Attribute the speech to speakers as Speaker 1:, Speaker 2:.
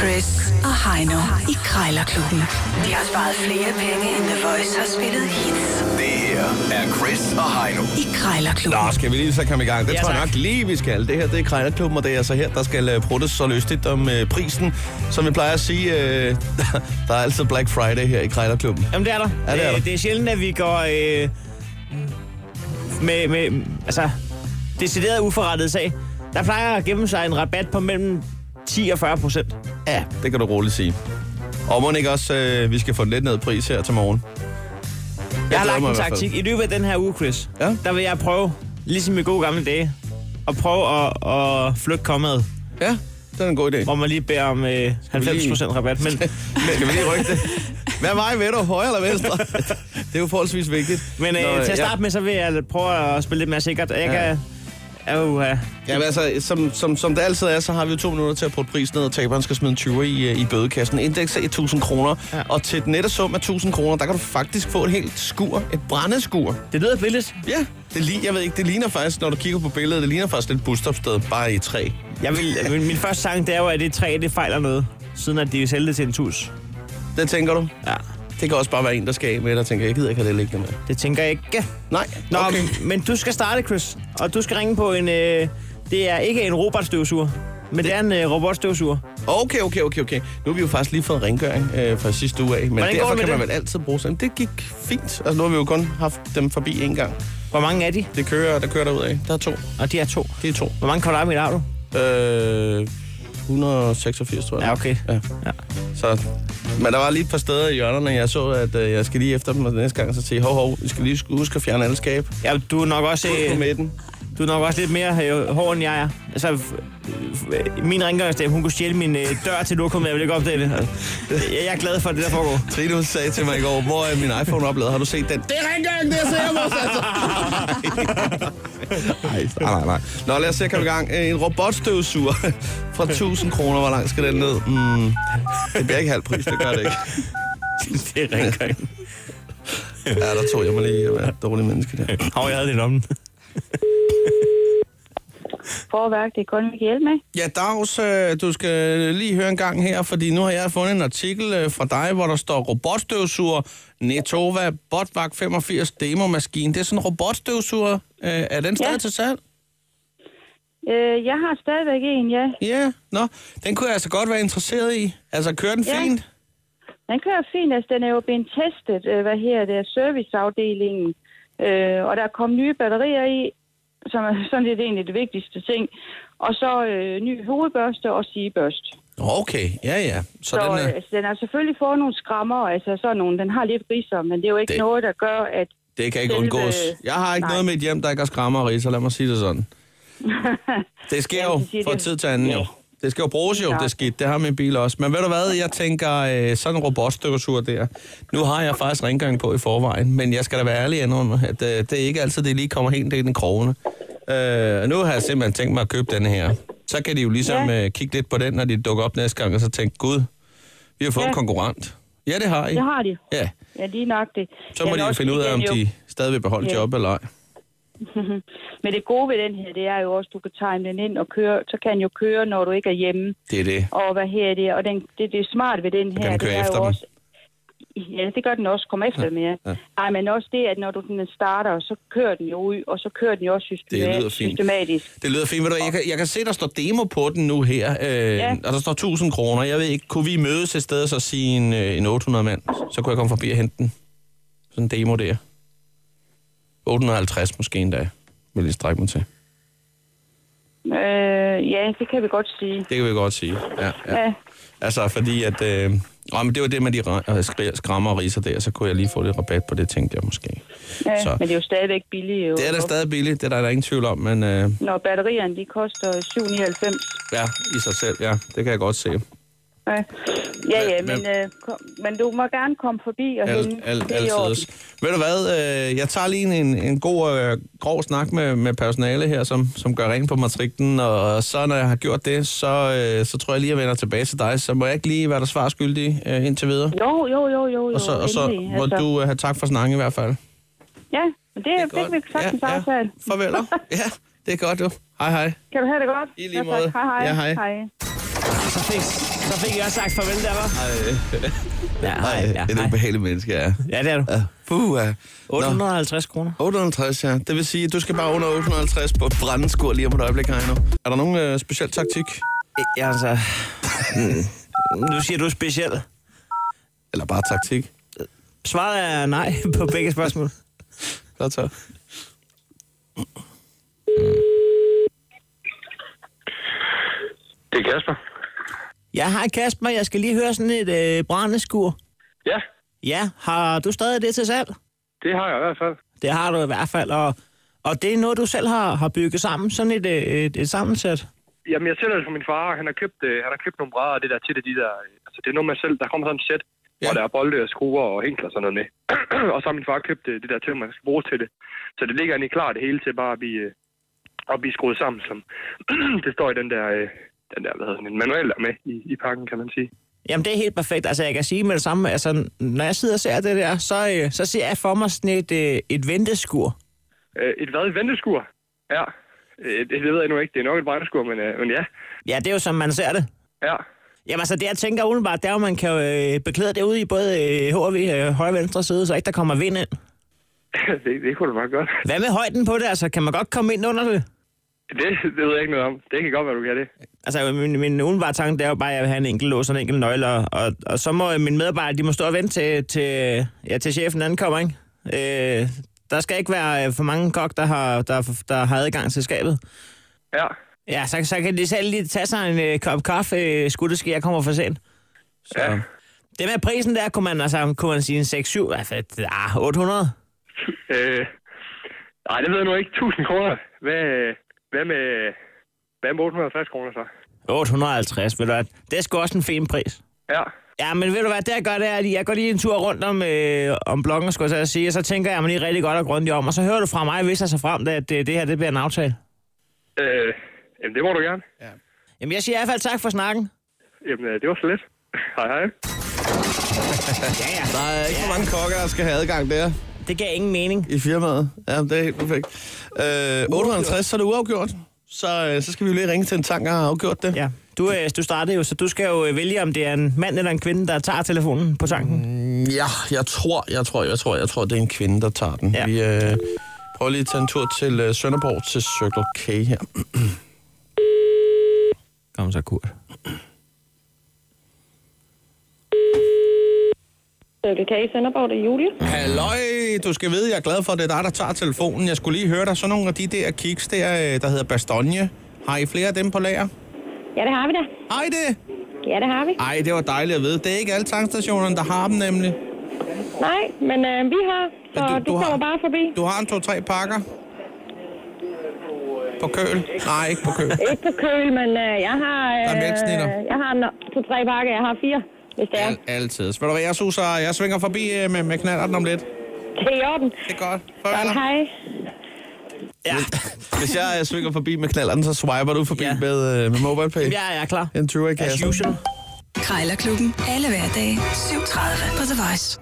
Speaker 1: Chris og Heino i Krejlerklubben. De har sparet flere penge, end The Voice har spillet hits
Speaker 2: Det her er Chris og Heino.
Speaker 1: i Krejlerklubben.
Speaker 3: Nå, skal vi lige så komme i gang? Det ja,
Speaker 4: Ja,
Speaker 3: tror jeg
Speaker 4: tak.
Speaker 3: nok lige, vi skal. Det her, det er Krejlerklubben, og det er altså her, der skal øh, pruttes så lystigt om øh, prisen. Som vi plejer at sige, øh, der er altid Black Friday her i Krejlerklubben.
Speaker 4: Jamen, det er der.
Speaker 3: Ja, det er der.
Speaker 4: Øh, det er sjældent, at vi går øh, med, med, altså, decideret uforrettet sag. Der plejer at gemme sig en rabat på mellem 10 og 40 procent.
Speaker 3: Ja, det kan du roligt sige. Og må ikke også, øh, vi skal få den lidt ned i pris her til morgen.
Speaker 4: Jeg
Speaker 3: glæder
Speaker 4: har lagt
Speaker 3: mig
Speaker 4: en
Speaker 3: i hvert fald.
Speaker 4: taktik. I løbet af den her uge, Chris,
Speaker 3: Ja.
Speaker 4: der vil jeg prøve, ligesom i gode gamle dage, at prøve at, at flytte kommet,
Speaker 3: Ja, det er en god idé.
Speaker 4: hvor man lige beder om øh, 90 procent rabat. Men,
Speaker 3: Skal vi lige rykke det? Hvad vej vil du? Højre eller venstre? Det er jo forholdsvis vigtigt.
Speaker 4: men øh,
Speaker 3: Nå,
Speaker 4: til
Speaker 3: ja.
Speaker 4: at starte med, så vil jeg prøve at spille lidt mere sikkert. Jeg
Speaker 3: Ja.
Speaker 4: kan... Uh, uh,
Speaker 3: Ja, men altså, som, som, som det altid er, så har vi jo to minutter til at putte prisen ned, og taberen skal smide en 20'er i, øh, i bødekassen. Indeks er 1.000 kroner, ja.
Speaker 4: Ja.
Speaker 3: og til den nette sum af 1.000 kroner, der kan du faktisk få et helt skur, et brændeskur.
Speaker 4: det lyder billigt.
Speaker 3: Ja, det, li- jeg ved ikke, det ligner faktisk, når du kigger på billedet, det ligner faktisk et busstopsted bare i træ.
Speaker 4: Jeg vil, min, min første sang, det er jo, at det træ, det fejler noget, siden at de sælger det til en tus.
Speaker 3: Det tænker du?
Speaker 4: Ja.
Speaker 3: Det kan også bare være en, der skal af med, der tænker, jeg gider ikke have det liggende med.
Speaker 4: Det tænker jeg ikke.
Speaker 3: Nej,
Speaker 4: Nå,
Speaker 3: okay.
Speaker 4: okay. men du skal starte, Chris. Og du skal ringe på en... Øh, det er ikke en robotstøvsuger, men det er en øh, robotstøvsuger.
Speaker 3: Okay, okay, okay, okay. Nu har vi jo faktisk lige fået rengøring øh, fra sidste uge af, men
Speaker 4: Hvordan går
Speaker 3: derfor
Speaker 4: det
Speaker 3: kan
Speaker 4: med
Speaker 3: man
Speaker 4: det?
Speaker 3: vel altid bruge sådan. Det gik fint. Altså, nu har vi jo kun haft dem forbi en gang.
Speaker 4: Hvor mange er de?
Speaker 3: Det kører, der kører derud af. Der er to.
Speaker 4: Og de er to.
Speaker 3: Det er to.
Speaker 4: Hvor mange kvadratmeter har du?
Speaker 3: Øh, 186, tror jeg.
Speaker 4: Ja, okay.
Speaker 3: Ja.
Speaker 4: Ja.
Speaker 3: Så, men der var lige et par steder i hjørnerne, jeg så, at øh, jeg skal lige efter dem, og næste gang så sige, hov, hov, vi skal lige huske at fjerne alle skab
Speaker 4: Ja, du er nok også,
Speaker 3: på
Speaker 4: øh,
Speaker 3: midten.
Speaker 4: du er nok også lidt mere øh, hård, end jeg er. Altså, f- f- øh, min rengøringsdame, hun kunne stjæle min øh, dør til lokum, jeg vil ikke opdage det. Altså, Jeg, jeg er glad for, at det der foregår.
Speaker 3: Trine hun sagde til mig i går, hvor er min iPhone oplader? Har du set den? Det er rengøring, det er så hjemme hos altså. Nej, nej, nej, nej. Nå, lad os se, kan vi i gang. Øh, En robotstøvsuger fra 1000 kroner. Hvor langt skal den ned? Mm, det bliver ikke halv pris, det gør det ikke.
Speaker 4: Det er rengøring.
Speaker 3: Ja, der tog jeg mig lige at være et dårligt menneske der.
Speaker 4: Hov, jeg havde det i lommen.
Speaker 5: forværk, det er kun, vi kan hjælpe med.
Speaker 3: Ja, Dags, øh, du skal lige høre en gang her, fordi nu har jeg fundet en artikel øh, fra dig, hvor der står robotstøvsuger, Netova, Botvak 85, demomaskine. Det er sådan en robotstøvsuger. Øh, Er den stadig
Speaker 5: Ja.
Speaker 3: til salg?
Speaker 5: Øh, jeg har stadigvæk en, ja.
Speaker 3: Ja, yeah. nå. Den kunne jeg altså godt være interesseret i. Altså, kører den
Speaker 5: Ja.
Speaker 3: fint?
Speaker 5: Den kører fint, altså den er jo blevet testet, øh, hvad her det er, serviceafdelingen. Øh, og der er kommet nye batterier i, som er sådan lidt egentlig det vigtigste ting. Og så øh, ny hovedbørste og sigebørste.
Speaker 3: Okay, ja, ja. Så,
Speaker 5: Så,
Speaker 3: den
Speaker 5: øh,
Speaker 3: er,
Speaker 5: altså, den har selvfølgelig fået nogle skrammer, altså sådan nogle, den har lidt ridser, men det er jo ikke
Speaker 3: Det-
Speaker 5: det... noget, der gør, at...
Speaker 3: det kan ikke
Speaker 5: selve-
Speaker 3: undgås. Jeg har ikke
Speaker 5: Nej.
Speaker 3: noget med et hjem, der ikke har skrammer og riser, lad mig sige det sådan. Det sker
Speaker 5: Ja,
Speaker 3: jo
Speaker 5: man kan sige
Speaker 3: fra
Speaker 5: det.
Speaker 3: tid til anden,
Speaker 5: Ja.
Speaker 3: jo. Det skal jo bruges jo,
Speaker 5: klart.
Speaker 3: det skidt. Det har min bil også. Men ved du hvad, jeg tænker øh, sådan en robotstøvsuger der. Nu har jeg faktisk rengøring på i forvejen, men jeg skal da være ærlig indrømme, at øh, det er ikke altid, det lige kommer helt ind i krogene. Øh, nu har jeg simpelthen tænkt mig at købe den her. Så kan de jo ligesom øh, kigge lidt på den, når de dukker op næste gang, og så tænke, gud, vi har fået ja.
Speaker 5: Ja.
Speaker 3: en konkurrent. Ja, det har I.
Speaker 5: Det har de.
Speaker 3: Ja,
Speaker 5: Ja, lige nok det.
Speaker 3: så må
Speaker 5: Men
Speaker 3: de jo
Speaker 5: også
Speaker 3: finde ud af,
Speaker 5: igen
Speaker 3: om
Speaker 5: jo-
Speaker 3: de stadig vil beholde
Speaker 5: Ja.
Speaker 3: job eller ej.
Speaker 5: Men det gode ved den her, det er jo også, at du kan time den ind og køre. Så kan den jo køre, når du ikke er hjemme.
Speaker 3: Det er det.
Speaker 5: Og hvad her det er. Og den, det, det er smart ved den her.
Speaker 3: den køre
Speaker 5: det er
Speaker 3: efter
Speaker 5: jo
Speaker 3: dem.
Speaker 5: også, Ja, det gør den også. Kom efter dem, ja.
Speaker 3: ja.
Speaker 5: ja. Ej, men også det, at når du den starter, så kører den jo ud, og så kører den jo også
Speaker 3: Det lyder
Speaker 5: systematisk.
Speaker 3: fint.
Speaker 5: systematisk.
Speaker 3: Det lyder fint. Ved du, hvad, jeg, kan, jeg kan se, der står demo på den nu her, øh, ja.
Speaker 5: Ja.
Speaker 3: og der står 1000 kroner. Jeg ved ikke, kunne vi mødes et sted og så sige en, øh, en 800 mand? Så kunne jeg komme forbi og hente den. Sådan en demo der. 850 måske endda, vil jeg strække mig til.
Speaker 5: Øh, ja, det kan vi godt sige.
Speaker 3: Det kan vi godt sige, ja. ja.
Speaker 5: Ja.
Speaker 3: Altså, fordi at... Øh, åh, men det var det med de ra- øh, skri- skrammer og riser der, så kunne jeg lige få lidt rabat på det, tænkte jeg måske.
Speaker 5: Ja,
Speaker 3: Så.
Speaker 5: men det er jo stadigvæk billigt. Jo.
Speaker 3: Det er da stadig billigt, det er der, der ingen tvivl om, men øh,
Speaker 5: Når batterierne, de koster 7,99.
Speaker 3: ja, i sig selv, ja, det kan jeg godt se.
Speaker 5: Ja, ja, ja
Speaker 3: Men-
Speaker 5: men, øh, kom, men du må gerne komme forbi og
Speaker 3: Al,
Speaker 5: hente.
Speaker 3: al,
Speaker 5: Det er i orden.
Speaker 3: altid. Ved du hvad, øh, jeg tager lige en, en god, øh, grov snak med, med personale her, som, som gør rent på matriklen, og så når jeg har gjort det, så, øh, så tror jeg lige, jeg vender tilbage til dig. Så må jeg ikke lige være der svar skyldig øh, indtil videre?
Speaker 5: Jo, jo, jo, jo. jo
Speaker 3: og så, og så
Speaker 5: endelig,
Speaker 3: må
Speaker 5: altså.
Speaker 3: du øh, have tak for snakken i hvert fald.
Speaker 5: Ja, men det, det, det kan vi sagtens ja, aftale.
Speaker 3: Farvel. ja, det er godt jo. Hej hej.
Speaker 5: Kan du have det godt?
Speaker 3: I lige
Speaker 5: Ja, tak.
Speaker 3: måde.
Speaker 5: Hej, hej.
Speaker 3: Ja, hej.
Speaker 5: hej.
Speaker 4: Så fik Så fik jeg også sagt farvel der, var. Ja,
Speaker 3: Ej,
Speaker 4: nej, ja,
Speaker 3: det er et
Speaker 4: nej.
Speaker 3: ubehageligt menneske, jeg er.
Speaker 4: Ja, det er du.
Speaker 3: Ja. Puh, ja. Nå,
Speaker 4: 850 kroner.
Speaker 3: 850, ja. Det vil sige, at du skal bare under 850 på brændeskur lige om et øjeblik, Heino. Er der nogen øh, speciel taktik?
Speaker 4: Ja, altså... hmm. Nu siger du speciel.
Speaker 3: Eller bare taktik?
Speaker 4: Svaret er nej på begge spørgsmål.
Speaker 3: Godt så.
Speaker 6: Det er Kasper.
Speaker 4: Ja, hej Kasper, jeg skal lige høre sådan et øh, brændeskur.
Speaker 6: Ja,
Speaker 4: Ja, har du stadig det til salg?
Speaker 6: det har jeg i hvert fald.
Speaker 4: Det har du i hvert fald, og, og det er noget, du selv har, har bygget sammen, sådan et, øh, et, et sammensæt.
Speaker 6: Jamen, jeg sælger det for min far. og Han har købt, øh, han har købt nogle brædder og det der til det, de der... øh, Altså, det er noget med selv. Der kommer sådan et sæt, ja. hvor der er bolde og skruer og hængler og sådan noget med. og så har min far købt øh, det der til, man skal bruge til det. Så det ligger egentlig klar det hele til bare at blive, øh, at blive skruet sammen. Som det står i den der, øh, den der hvad hedder den, en manual der er med i, i pakken, kan man sige.
Speaker 4: Jamen, det er helt perfekt. Altså, jeg kan sige med det samme, altså, når jeg sidder og ser det der, så, øh, så ser jeg for mig sådan et, øh, et venteskur.
Speaker 6: Øh, et hvad? Et venteskur? Ja. Øh, det det ved jeg nu ikke. Det er nok et brændeskur, men, øh, men ja.
Speaker 4: Ja, det er jo som man ser det.
Speaker 6: Ja.
Speaker 4: Jamen, altså, det jeg tænker umiddelbart, det er jo, man kan jo øh, beklæde det ude i både øh, HV, øh, højre og venstre side, så ikke der kommer vind ind.
Speaker 6: det, det kunne du meget godt.
Speaker 4: Hvad med højden på det? Altså, kan man godt komme ind under det?
Speaker 6: Det, det ved jeg ikke noget om. Det kan godt være, du kan det.
Speaker 4: Altså, min, min umiddelbare tanke, det er jo bare, at jeg vil have en enkelt lås og en enkelt nøgle, og, og, og så må øh, mine medarbejdere, de må stå og vente til, til, ja, til chefen ankommer, ikke? Øh, der skal ikke være øh, for mange kok, der har, der, der har adgang til skabet.
Speaker 6: Ja.
Speaker 4: Ja, så, så kan de selv lige tage sig en øh, kop kaffe, øh, skulle det ske, jeg kommer for sent.
Speaker 3: Så.
Speaker 6: Ja.
Speaker 4: Det med prisen der, kunne man, altså, kunne man sige en 6-7, altså, ah, 800.
Speaker 6: Øh, nej, det ved jeg nu ikke. 1000 kroner. Hvad, hvad med... Hvad med 850 kroner så?
Speaker 4: 850, ved du hvad. Det er sgu også en fin pris.
Speaker 6: Ja.
Speaker 4: Ja, men ved du hvad, det jeg gør, det er, at jeg går lige en tur rundt om, øh, om bloggen, skulle jeg så at sige, og så tænker jeg mig lige rigtig godt og grundigt om, og så hører du fra mig, hvis jeg så frem, til, at det, det her det bliver en aftale.
Speaker 6: Øh, jamen, det må du gerne.
Speaker 4: Jamen, jeg siger i hvert fald tak for snakken.
Speaker 6: Jamen, øh, det var så lidt. Hej, hej.
Speaker 4: Ja, ja.
Speaker 3: Der er ikke for mange kokker, der skal have adgang der
Speaker 4: Det gav ingen mening.
Speaker 3: i firmaet. Ja, det er helt perfekt. Øh, 58, så er det uafgjort. Så, øh, så skal vi jo lige ringe til en tank og have afgjort det.
Speaker 4: Ja. Du, øh, du startede jo, så du skal jo øh, vælge, om det er en mand eller en kvinde, der tager telefonen på tanken.
Speaker 3: Ja, jeg tror, jeg tror, jeg tror, jeg tror, det er en kvinde, der tager den.
Speaker 4: Ja.
Speaker 3: Vi øh, prøver lige at tage en tur til øh, Sønderborg til Circle K her.
Speaker 4: Kom så, Kurt.
Speaker 7: Circle K i Sønderborg, det er Julie.
Speaker 3: Halløj, du skal vide, jeg er glad for, at det er dig, der tager telefonen. Jeg skulle lige høre dig, sådan nogle af de der kiks der, øh, der hedder Bastogne. Har I flere af dem på lager?
Speaker 7: Ja, det har vi da.
Speaker 3: Har I det?
Speaker 7: Ja, det har vi.
Speaker 3: Ej, det var dejligt at vide. Det er ikke alle tankstationerne, der har dem nemlig.
Speaker 7: Nej, men øh, vi har, så
Speaker 3: Men
Speaker 7: du,
Speaker 3: du-
Speaker 7: du,
Speaker 3: du har-
Speaker 7: kommer bare forbi.
Speaker 3: Du har en to-tre pakker? På køl? Nej, ikke på køl.
Speaker 7: Ikke på køl, men øh, jeg har...
Speaker 3: Der er mælksnitter.
Speaker 7: jeg har to-tre pakker, jeg har fire, hvis det er.
Speaker 3: Al- altid. Så Ved du hvad, jeg suser, jeg svinger forbi øh, med, med knallerten om lidt.
Speaker 7: Det er i orden.
Speaker 3: Det er godt.
Speaker 7: Godt, hej.
Speaker 4: Ja,
Speaker 3: Hvis jeg øh, svinger forbi med knallerten, så swiper du forbi
Speaker 4: Ja.
Speaker 3: med, øh, med MobilePay.
Speaker 4: ja, jeg er klar.
Speaker 3: En 20'er i
Speaker 4: As
Speaker 3: kassen.
Speaker 4: usual.
Speaker 1: Krejlerklubben. Alle hverdage. 7.30 på The Voice.